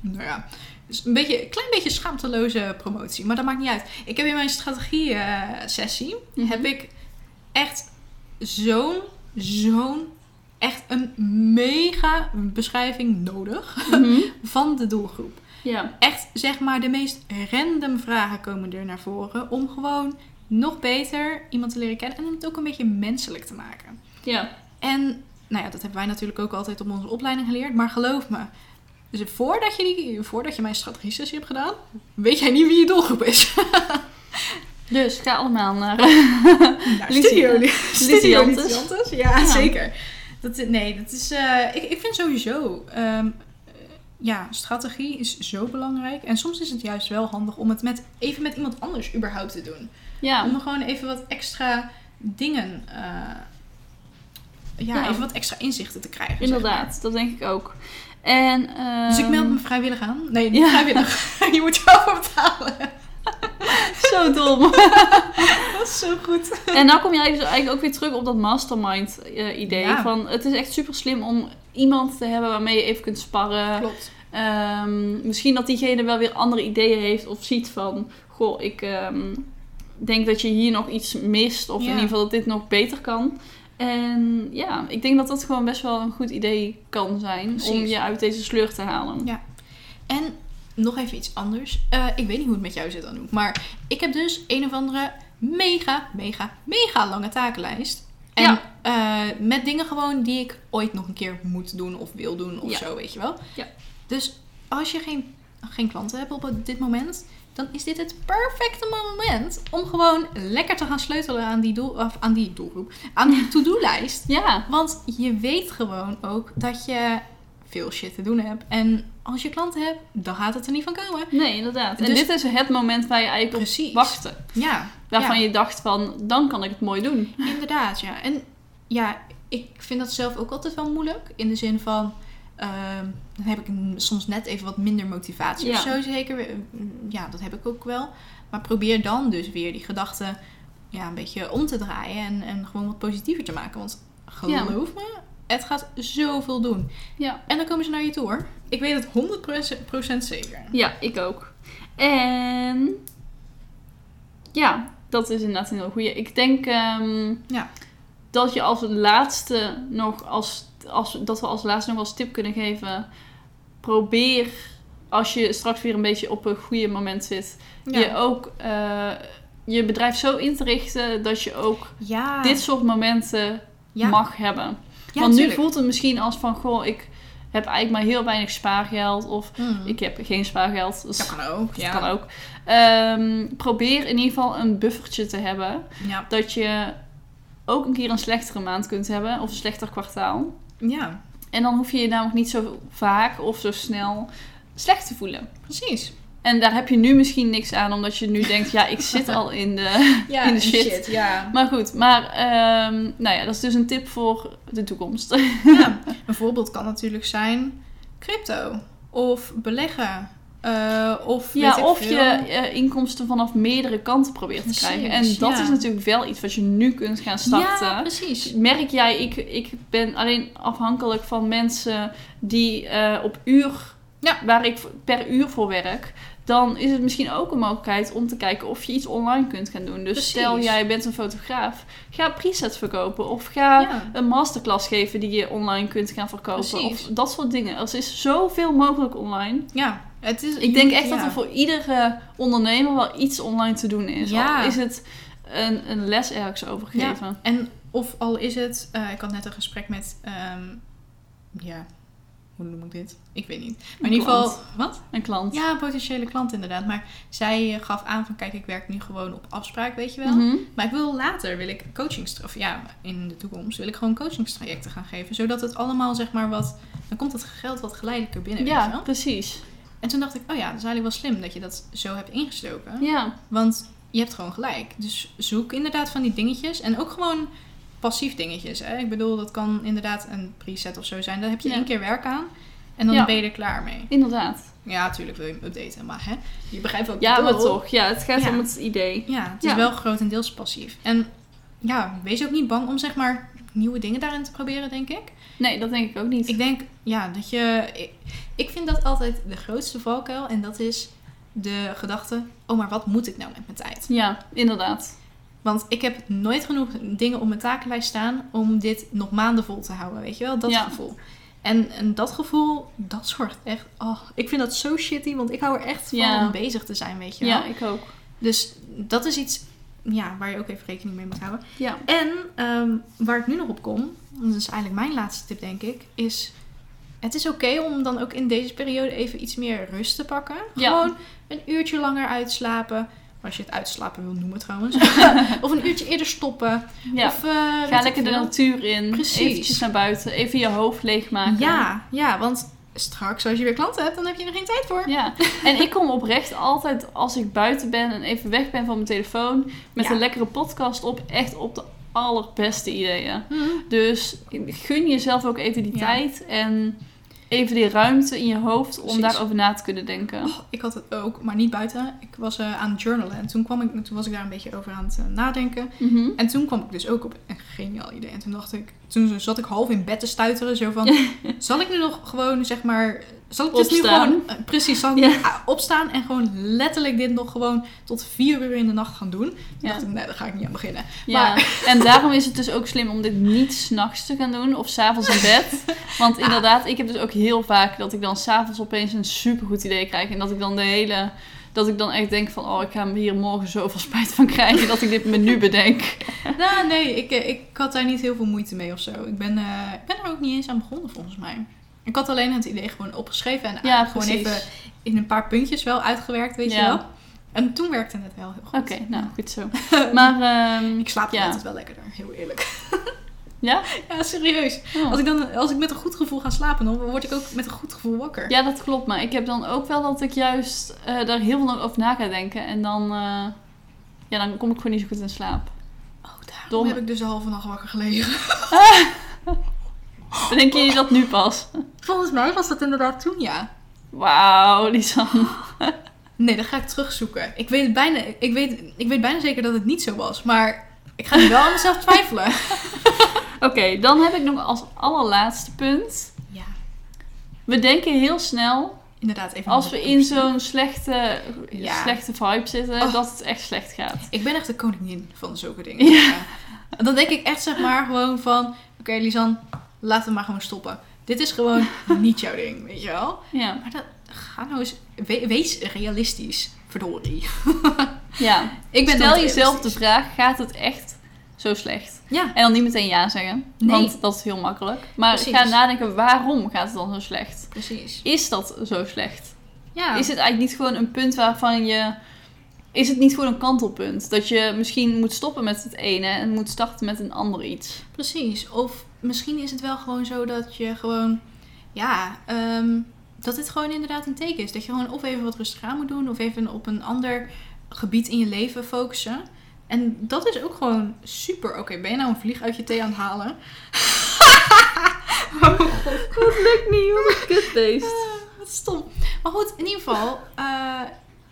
Speaker 1: nou ja, dus een beetje, een klein beetje schaamteloze promotie, maar dat maakt niet uit. Ik heb in mijn strategie-sessie.
Speaker 2: Mhm.
Speaker 1: heb ik echt zo'n, zo'n, echt een mega beschrijving nodig
Speaker 2: Mhm.
Speaker 1: van de doelgroep.
Speaker 2: Ja.
Speaker 1: Echt, zeg maar, de meest random vragen komen er naar voren. Om gewoon nog beter iemand te leren kennen. En om het ook een beetje menselijk te maken.
Speaker 2: Ja.
Speaker 1: En nou ja, dat hebben wij natuurlijk ook altijd op onze opleiding geleerd. Maar geloof me, dus voordat, je die, voordat je mijn strategie-sessie hebt gedaan, weet jij niet wie je doelgroep is.
Speaker 2: Dus ga allemaal naar...
Speaker 1: Nou,
Speaker 2: Lucie,
Speaker 1: Studio, Lu- Studio
Speaker 2: Jantes.
Speaker 1: Jantes, Ja,
Speaker 2: Ja.
Speaker 1: zeker. Dat, i- nee, dat is, eh, ik, ik vind sowieso... ehm, eh, ja, strategie is zo belangrijk. En soms is het juist wel handig om het met, even met iemand anders überhaupt te doen.
Speaker 2: Ja.
Speaker 1: Om er gewoon even wat extra dingen... eh, ja,
Speaker 2: Ja.
Speaker 1: even wat extra inzichten te krijgen. zeg maar.
Speaker 2: Inderdaad, dat denk ik ook. En, ehm,
Speaker 1: Dus ik meld me vrijwillig aan. Nee, niet
Speaker 2: Ja.
Speaker 1: vrijwillig. je moet je over betalen.
Speaker 2: Zo dom.
Speaker 1: Dat is zo goed.
Speaker 2: en nou kom jij dus eigenlijk ook weer terug op dat mastermind eh, idee.
Speaker 1: Ja.
Speaker 2: Van, het is echt super slim om iemand te hebben waarmee je even kunt sparren.
Speaker 1: Klopt.
Speaker 2: Ehm, misschien dat diegene wel weer andere ideeën heeft of ziet van... Goh, ik ehm, denk dat je hier nog iets mist. Of
Speaker 1: Ja.
Speaker 2: in ieder geval dat dit nog beter kan. En ja, ik denk dat dat gewoon best wel een goed idee kan zijn. Om
Speaker 1: Precies.
Speaker 2: je uit deze sleur te halen.
Speaker 1: Ja. En nog even iets anders. Eh, ik weet niet hoe het met jou zit, Anouk. Maar ik heb dus een of andere mega, mega, mega lange takenlijst. En
Speaker 2: Ja.
Speaker 1: eh, met dingen gewoon die ik ooit nog een keer moet doen of wil doen of
Speaker 2: Ja.
Speaker 1: zo, weet je wel.
Speaker 2: Ja.
Speaker 1: Dus als je geen, geen klanten hebt op dit moment, dan is dit het perfecte moment om gewoon lekker te gaan sleutelen aan die, doel, of aan die doelgroep, aan die to-do-lijst.
Speaker 2: Ja,
Speaker 1: Want je weet gewoon ook dat je veel shit te doen hebt. En als je klanten hebt, dan gaat het er niet van komen.
Speaker 2: nee, inderdaad. En
Speaker 1: Dus-
Speaker 2: dit is het moment waar je eigenlijk op
Speaker 1: Precies.
Speaker 2: wachtte.
Speaker 1: Ja.
Speaker 2: Waarvan
Speaker 1: ja,
Speaker 2: je dacht van, dan kan ik het mooi doen.
Speaker 1: Inderdaad, ja. En ja, ik vind dat zelf ook altijd wel moeilijk. In de zin van, ehm, dan heb ik een- soms net even wat minder motivatie of
Speaker 2: Ja.
Speaker 1: zo zeker. Eh, Ja, dat heb ik ook wel. Maar probeer dan dus weer die gedachten ja, een beetje om te draaien. En, en gewoon wat positiever te maken. Want geloof me, het gaat zoveel doen.
Speaker 2: Ja,
Speaker 1: En dan komen ze naar je toe hoor. Ik weet het 100% zeker.
Speaker 2: ja ik ook. En ja, dat is inderdaad een heel goeie. Ik denk ehm,
Speaker 1: Ja.
Speaker 2: dat je als laatste nog als, als dat we als laatste nog als tip kunnen geven. Probeer als je straks weer een beetje op een goede moment zit, je ook eh, je bedrijf zo in te richten dat je ook
Speaker 1: ja.
Speaker 2: dit soort momenten
Speaker 1: Ah. ja.
Speaker 2: mag hebben.
Speaker 1: Ja,
Speaker 2: Want nu
Speaker 1: tuurlijk.
Speaker 2: voelt het misschien als van, goh, ik heb eigenlijk maar heel weinig spaargeld. Of
Speaker 1: Mm.
Speaker 2: ik heb geen spaargeld. Dus
Speaker 1: Dat kan ook.
Speaker 2: dat
Speaker 1: Ja.
Speaker 2: kan ook. Ehm, probeer in ieder geval een buffertje te hebben.
Speaker 1: Ja.
Speaker 2: Dat je ook een keer een slechtere maand kunt hebben. Of een slechter kwartaal.
Speaker 1: ja,
Speaker 2: En dan hoef je je namelijk niet zo vaak of zo snel slecht te voelen.
Speaker 1: precies.
Speaker 2: En daar heb je nu misschien niks aan, omdat je nu denkt, ja, ik zit al in de...
Speaker 1: Ja,
Speaker 2: In de shit.
Speaker 1: ja.
Speaker 2: Maar goed, maar ehm, nou ja, dat is dus een tip voor de toekomst.
Speaker 1: ja. Een voorbeeld kan natuurlijk zijn crypto of beleggen. Eh, of weet ik
Speaker 2: Ja, of je
Speaker 1: veel.
Speaker 2: eh, inkomsten vanaf meerdere kanten probeert te
Speaker 1: Precies,
Speaker 2: krijgen. En dat
Speaker 1: ja.
Speaker 2: is natuurlijk wel iets wat je nu kunt gaan
Speaker 1: Ja,
Speaker 2: starten.
Speaker 1: precies.
Speaker 2: Merk jij, ik, ik ben alleen afhankelijk van mensen die eh, op uur,
Speaker 1: Ja.
Speaker 2: waar ik per uur voor werk. Dan is het misschien ook een mogelijkheid om te kijken of je iets online kunt gaan doen. Dus
Speaker 1: Precies.
Speaker 2: stel jij bent een fotograaf, ga presets verkopen of ga
Speaker 1: Ja.
Speaker 2: een masterclass geven die je online kunt gaan verkopen.
Speaker 1: Precies.
Speaker 2: Of dat soort dingen. Er is zoveel mogelijk online.
Speaker 1: Ja, het is.
Speaker 2: Ik denk echt
Speaker 1: ja.
Speaker 2: dat er voor iedere ondernemer wel iets online te doen is.
Speaker 1: Ja.
Speaker 2: Al is het een, een les ergens over geven.
Speaker 1: En of al is het, eh, ik had net een gesprek met, ehm, ja, hoe noem ik dit? Ik weet niet. Maar in ieder geval, wat?
Speaker 2: Een klant.
Speaker 1: Ja, een potentiële klant inderdaad. Maar zij eh, gaf aan van kijk, ik werk nu gewoon op afspraak, weet je wel.
Speaker 2: Mhm.
Speaker 1: Maar ik wil later, wil ik coachings, of ja, in de toekomst wil ik gewoon coachingstrajecten gaan geven. Zodat het allemaal zeg maar wat, dan komt het geld wat geleidelijker binnen, weet je
Speaker 2: ja
Speaker 1: wel.
Speaker 2: precies.
Speaker 1: En toen dacht ik, oh ja, dat is eigenlijk wel slim dat je dat zo hebt ingestoken.
Speaker 2: Ja.
Speaker 1: Want je hebt gewoon gelijk. Dus zoek inderdaad van die dingetjes. En ook gewoon passief dingetjes. Hè? Ik bedoel, dat kan inderdaad een preset of zo zijn. Daar heb je
Speaker 2: Ja.
Speaker 1: één keer werk aan. En dan
Speaker 2: Ja.
Speaker 1: ben je er klaar mee.
Speaker 2: Inderdaad.
Speaker 1: Ja, natuurlijk wil je hem updaten, maar hè, je begrijpt wat ik
Speaker 2: Ja,
Speaker 1: bedoel.
Speaker 2: maar toch. Ja, het gaat
Speaker 1: Ja.
Speaker 2: om het idee.
Speaker 1: Ja, het is
Speaker 2: Ja.
Speaker 1: wel grotendeels passief. En ja, wees ook niet bang om zeg maar nieuwe dingen daarin te proberen, denk ik.
Speaker 2: Nee, dat denk ik ook niet.
Speaker 1: Ik denk, ja, dat je... Ik, ik vind dat altijd de grootste valkuil en dat is de gedachte, oh maar wat moet ik nou met mijn tijd?
Speaker 2: Ja, inderdaad.
Speaker 1: Want ik heb nooit genoeg dingen op mijn takenlijst staan om dit nog maanden vol te houden, weet je wel? Dat
Speaker 2: Ja.
Speaker 1: gevoel. En, en dat gevoel, dat zorgt echt... Oh, ik vind dat zo shitty, want ik hou er echt van
Speaker 2: Ja.
Speaker 1: om bezig te zijn, weet je wel.
Speaker 2: Ja, ik ook.
Speaker 1: Dus dat is iets ja, waar je ook even rekening mee moet houden.
Speaker 2: Ja.
Speaker 1: En ehm, waar ik nu nog op kom, dat is eigenlijk mijn laatste tip denk ik, is... Het is oké om dan ook in deze periode even iets meer rust te pakken.
Speaker 2: Ja.
Speaker 1: Gewoon een uurtje langer uitslapen. Als je het uitslapen wil noemen trouwens. of een uurtje eerder stoppen.
Speaker 2: ja.
Speaker 1: Of, eh, weet
Speaker 2: Ga
Speaker 1: ik
Speaker 2: lekker de
Speaker 1: veel.
Speaker 2: natuur in.
Speaker 1: Precies.
Speaker 2: Eventjes naar buiten. Even je hoofd leegmaken.
Speaker 1: Ja, ja, want straks als je weer klanten hebt, dan heb je er geen tijd voor.
Speaker 2: Ja, en ik kom oprecht altijd als ik buiten ben en even weg ben van mijn telefoon met
Speaker 1: Ja.
Speaker 2: een lekkere podcast op, echt op de allerbeste ideeën.
Speaker 1: Mm-hmm.
Speaker 2: Dus gun jezelf ook even die
Speaker 1: Ja.
Speaker 2: tijd en even die ruimte in je hoofd om
Speaker 1: Precies.
Speaker 2: daarover na te kunnen denken.
Speaker 1: Oh, ik had het ook, maar niet buiten. Ik was eh, aan het journalen en toen, kwam ik, toen was ik daar een beetje over aan het eh, nadenken.
Speaker 2: Mhm.
Speaker 1: En toen kwam ik dus ook op een geniaal idee. En toen dacht ik, toen zat ik half in bed te stuiteren. Zo van, zal ik nu nog gewoon, zeg maar... Zal ik dus nu
Speaker 2: Opstaan.
Speaker 1: gewoon... eh, precies, zal ik
Speaker 2: Ja.
Speaker 1: nu, ah, opstaan en gewoon letterlijk dit nog gewoon tot vier uur in de nacht gaan doen? Toen
Speaker 2: Ja.
Speaker 1: dacht ik, nee, daar ga ik niet aan beginnen.
Speaker 2: Ja, en daarom is het dus ook slim om dit niet s'nachts te gaan doen of s'avonds in bed. Want
Speaker 1: Ah.
Speaker 2: inderdaad, ik heb dus ook heel vaak dat ik dan s'avonds opeens een supergoed idee krijg. En dat ik dan de hele. Dat ik dan echt denk van, oh, ik ga hier morgen zoveel spijt van krijgen dat ik dit me nu bedenk.
Speaker 1: Nou, nee, ik, eh, ik had daar niet heel veel moeite mee of zo. Ik ben, eh, ik ben er ook niet eens aan begonnen, volgens mij. Ik had alleen het idee gewoon opgeschreven en
Speaker 2: Ja,
Speaker 1: gewoon
Speaker 2: precies.
Speaker 1: even in een paar puntjes wel uitgewerkt, weet je
Speaker 2: Ja.
Speaker 1: wel. En toen werkte het wel heel goed.
Speaker 2: Oké, nou, goed zo. Maar, ehm,
Speaker 1: Ik slaap
Speaker 2: Ja.
Speaker 1: altijd wel lekkerder, heel eerlijk.
Speaker 2: Ja?
Speaker 1: Ja, serieus.
Speaker 2: oh.
Speaker 1: Als ik, dan, als ik met een goed gevoel ga slapen, dan word ik ook met een goed gevoel wakker.
Speaker 2: Ja, dat klopt. Maar ik heb dan ook wel dat ik juist eh, daar heel veel over na ga denken. En dan, eh, ja, dan kom ik gewoon niet zo goed in slaap.
Speaker 1: Oh, daarom
Speaker 2: Dom.
Speaker 1: heb ik dus de halve nacht wakker gelegen.
Speaker 2: Bedenk je dat nu pas?
Speaker 1: Volgens mij was dat inderdaad toen, ja.
Speaker 2: Wauw, Lisanne.
Speaker 1: Nee, dat ga ik terugzoeken. Ik weet, het bijna, ik, weet, ik weet bijna zeker dat het niet zo was, maar ik ga nu wel aan mezelf twijfelen.
Speaker 2: Oké, dan heb ik nog als allerlaatste punt.
Speaker 1: Ja,
Speaker 2: We denken heel snel,
Speaker 1: inderdaad. Even
Speaker 2: als we in
Speaker 1: zo.
Speaker 2: zo'n slechte,
Speaker 1: Ja.
Speaker 2: slechte vibe zitten,
Speaker 1: Oh.
Speaker 2: dat het echt slecht gaat.
Speaker 1: Ik ben echt de koningin van zulke dingen. Ja. Dan denk ik echt zeg maar gewoon van... Oké, Lisanne, laten we maar gewoon stoppen. Dit is gewoon niet jouw ding, weet je wel?
Speaker 2: Ja,
Speaker 1: Maar dat, ga nou eens... we- wees realistisch, verdorie.
Speaker 2: ja.
Speaker 1: Ik ben
Speaker 2: Stel
Speaker 1: dan
Speaker 2: jezelf de
Speaker 1: realistisch.
Speaker 2: vraag, gaat het echt zo slecht?
Speaker 1: Ja,
Speaker 2: En dan niet meteen ja zeggen,
Speaker 1: Nee.
Speaker 2: want dat is heel makkelijk. Maar
Speaker 1: Precies.
Speaker 2: ga nadenken, waarom gaat het dan zo slecht?
Speaker 1: precies.
Speaker 2: Is dat zo slecht?
Speaker 1: Ja,
Speaker 2: Is het eigenlijk niet gewoon een punt waarvan je... Is het niet gewoon een kantelpunt? Dat je misschien moet stoppen met het ene en moet starten met een ander iets?
Speaker 1: precies. Of misschien is het wel gewoon zo dat je gewoon... Ja, ehm, dat dit gewoon inderdaad een teken is. Dat je gewoon of even wat rustig aan moet doen... of even op een ander gebied in je leven focussen. En dat is ook gewoon super. Oké, ben je nou een vlieg uit je thee aan het halen?
Speaker 2: Dat lukt niet, wat een kutbeest.
Speaker 1: Ah, Wat stom. Maar goed, in ieder geval. eh,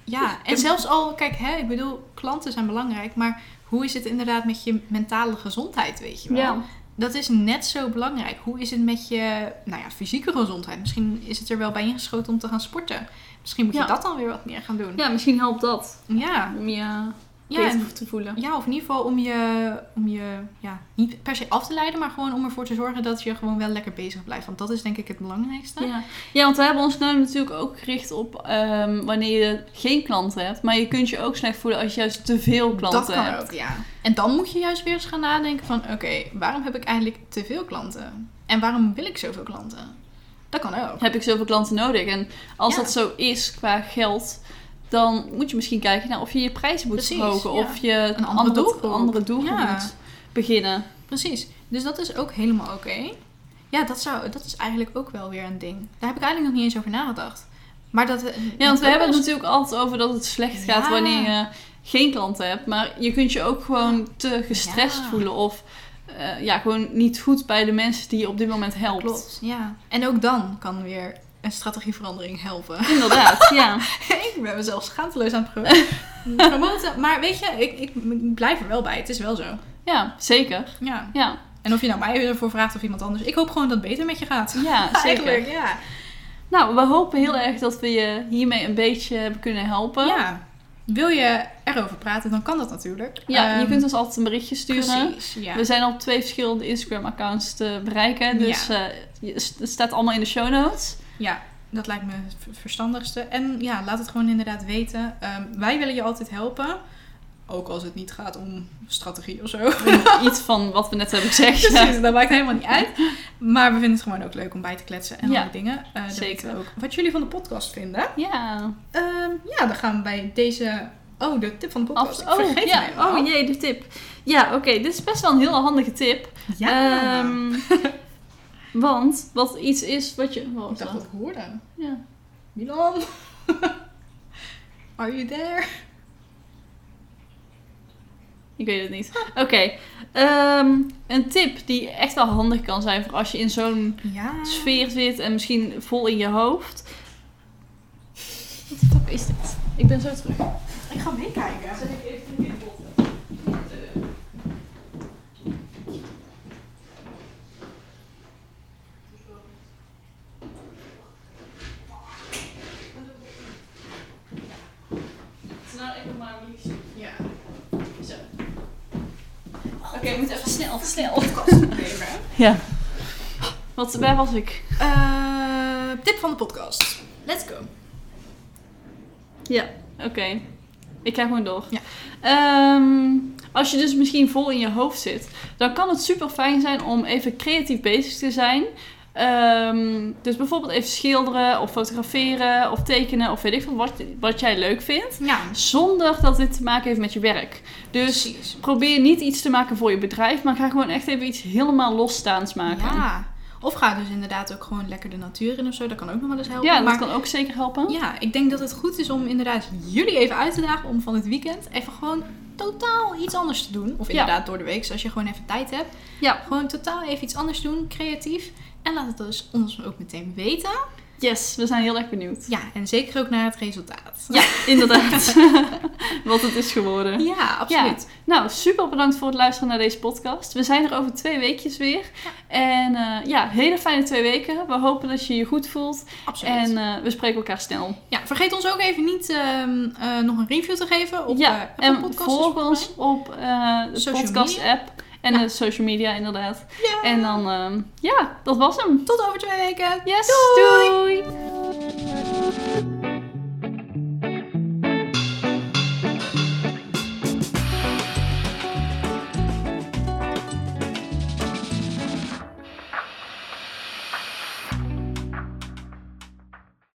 Speaker 1: ja, en zelfs al, kijk, hè, ik bedoel, klanten zijn belangrijk, maar hoe is het inderdaad met je mentale gezondheid, weet je wel?
Speaker 2: Ja.
Speaker 1: Dat is net zo belangrijk. Hoe is het met je, nou ja, fysieke gezondheid? Misschien is het er wel bij ingeschoten om te gaan sporten. Misschien moet je
Speaker 2: Ja.
Speaker 1: dat dan weer wat meer gaan doen.
Speaker 2: ja, misschien helpt dat
Speaker 1: Ja,
Speaker 2: om je
Speaker 1: ja,
Speaker 2: beter
Speaker 1: en-
Speaker 2: te voelen.
Speaker 1: ja of in ieder geval om je, om je ja, niet per se af te leiden, maar gewoon om ervoor te zorgen dat je gewoon wel lekker bezig blijft. Want dat is denk ik het belangrijkste.
Speaker 2: Ja. ja, want we hebben ons nu natuurlijk ook gericht op ehm, wanneer je geen klanten hebt. Maar je kunt je ook slecht voelen als je juist te veel klanten
Speaker 1: Dat kan
Speaker 2: hebt.
Speaker 1: ook, ja. En dan moet je juist weer eens gaan nadenken van... Oké, waarom heb ik eigenlijk te veel klanten? En waarom wil ik zoveel klanten? Dat kan ook.
Speaker 2: Heb ik zoveel klanten nodig? En als
Speaker 1: Ja.
Speaker 2: dat zo is qua geld, dan moet je misschien kijken naar of je je prijzen moet
Speaker 1: Precies,
Speaker 2: verhogen.
Speaker 1: ja.
Speaker 2: Of je
Speaker 1: andere doelgroep.
Speaker 2: andere doelgroep
Speaker 1: Ja.
Speaker 2: moet beginnen.
Speaker 1: Precies. Dus dat is ook helemaal oké. Ja, dat, zou, dat is eigenlijk ook wel weer een ding. Daar heb ik eigenlijk nog niet eens over nagedacht. Maar dat...
Speaker 2: Ja, want we hebben dus- het natuurlijk altijd over dat het slecht gaat
Speaker 1: Ja.
Speaker 2: wanneer je geen klanten hebt. Maar je kunt je ook gewoon te gestrest
Speaker 1: Ja.
Speaker 2: voelen of eh, ja, gewoon niet goed bij de mensen die je op dit moment helpt.
Speaker 1: Klopt, ja. En ook dan kan weer een strategieverandering helpen.
Speaker 2: Inderdaad, ja.
Speaker 1: ik ben mezelf schaamteloos aan het pro- promoten. Maar weet je, ik, ik, ik blijf er wel bij. Het is wel zo.
Speaker 2: Ja, zeker.
Speaker 1: Ja.
Speaker 2: Ja,
Speaker 1: En of je nou mij ervoor vraagt of iemand anders. Ik hoop gewoon dat het beter met je gaat.
Speaker 2: ja zeker.
Speaker 1: Eigenlijk, ja.
Speaker 2: Nou, we hopen heel erg dat we je hiermee een beetje hebben kunnen helpen.
Speaker 1: Ja. Wil je erover praten, dan kan dat natuurlijk.
Speaker 2: Ja, je
Speaker 1: Ehm,
Speaker 2: kunt ons altijd een berichtje sturen. Dus-
Speaker 1: Precies, ja.
Speaker 2: We zijn op twee verschillende Instagram-accounts te bereiken. Dus eh, je- s- het staat allemaal in de show notes.
Speaker 1: Ja, dat lijkt me het ver- verstandigste. En ja, laat het gewoon inderdaad weten. Ehm, wij willen je altijd helpen. Ook als het niet gaat om strategie of zo.
Speaker 2: Iets van wat we net hebben gezegd.
Speaker 1: Precies, dat maakt helemaal niet uit. Maar we vinden het gewoon ook leuk om bij te kletsen en
Speaker 2: Ja,
Speaker 1: andere dingen. Eh, dan
Speaker 2: zeker.
Speaker 1: weten we ook wat jullie van de podcast vinden.
Speaker 2: Ja.
Speaker 1: Ehm, ja, dan gaan we bij deze... Oh, de tip van de podcast.
Speaker 2: Af-
Speaker 1: Ik vergeet
Speaker 2: ja.
Speaker 1: hem helemaal.
Speaker 2: Oh jee, de tip. Ja, oké. Dit is best wel een heel handige tip.
Speaker 1: Ja.
Speaker 2: Ehm, want wat iets is wat je... wat was
Speaker 1: ik dacht dat
Speaker 2: dat?
Speaker 1: ik hoorde.
Speaker 2: Ja.
Speaker 1: Milan? Are you there?
Speaker 2: Ik weet het niet. Oké. Ehm, een tip die echt wel handig kan zijn voor als je in zo'n
Speaker 1: Ja.
Speaker 2: sfeer zit en misschien vol in je hoofd. Wat de fuck is dit? Ik ben zo terug.
Speaker 1: Ik ga meekijken. Ja.
Speaker 2: Oké, we moeten even snel, snel.
Speaker 1: Even.
Speaker 2: Ja. Wat, waar was ik?
Speaker 1: Eh, tip van de podcast. Let's go.
Speaker 2: Ja. Oké. Ik ga gewoon door.
Speaker 1: Ja.
Speaker 2: Ehm, als je dus misschien vol in je hoofd zit, dan kan het super fijn zijn om even creatief bezig te zijn. Ehm, dus bijvoorbeeld even schilderen of fotograferen of tekenen of weet ik veel wat, wat jij leuk vindt.
Speaker 1: Ja,
Speaker 2: Zonder dat dit te maken heeft met je werk. Dus
Speaker 1: precies.
Speaker 2: probeer niet iets te maken voor je bedrijf, maar ga gewoon echt even iets helemaal losstaands maken.
Speaker 1: Ja. Of ga dus inderdaad ook gewoon lekker de natuur in of zo. Dat kan ook nog wel eens helpen.
Speaker 2: Ja, dat
Speaker 1: maar
Speaker 2: kan ook zeker helpen.
Speaker 1: ja, ik denk dat het goed is om inderdaad jullie even uit te dagen om van het weekend even gewoon totaal iets anders te doen. Of
Speaker 2: Ja.
Speaker 1: inderdaad door de week, als je gewoon even tijd hebt.
Speaker 2: Ja.
Speaker 1: Gewoon totaal even iets anders doen, creatief. En laat het dus ons ook meteen weten.
Speaker 2: Yes, we zijn heel erg benieuwd.
Speaker 1: Ja, en zeker ook naar het resultaat.
Speaker 2: Ja, inderdaad. Wat het is geworden.
Speaker 1: Ja, absoluut.
Speaker 2: Nou, super bedankt voor het luisteren naar deze podcast. We zijn er over twee weekjes weer. En eh, ja, hele fijne twee weken. We hopen dat je je goed voelt.
Speaker 1: absoluut.
Speaker 2: En eh, we spreken elkaar snel.
Speaker 1: Ja, vergeet ons ook even niet ehm, eh, nog een review te geven op eh,
Speaker 2: ja,
Speaker 1: Apple
Speaker 2: en
Speaker 1: Podcasts,
Speaker 2: volg
Speaker 1: volgens
Speaker 2: ons op eh, de
Speaker 1: Social
Speaker 2: podcast app. En
Speaker 1: Ja. Ah.
Speaker 2: de social media inderdaad.
Speaker 1: mij. Ja.
Speaker 2: En dan, ehm, ja, dat was hem.
Speaker 1: tot over twee weken.
Speaker 2: Yes,
Speaker 1: Doei!
Speaker 2: doei.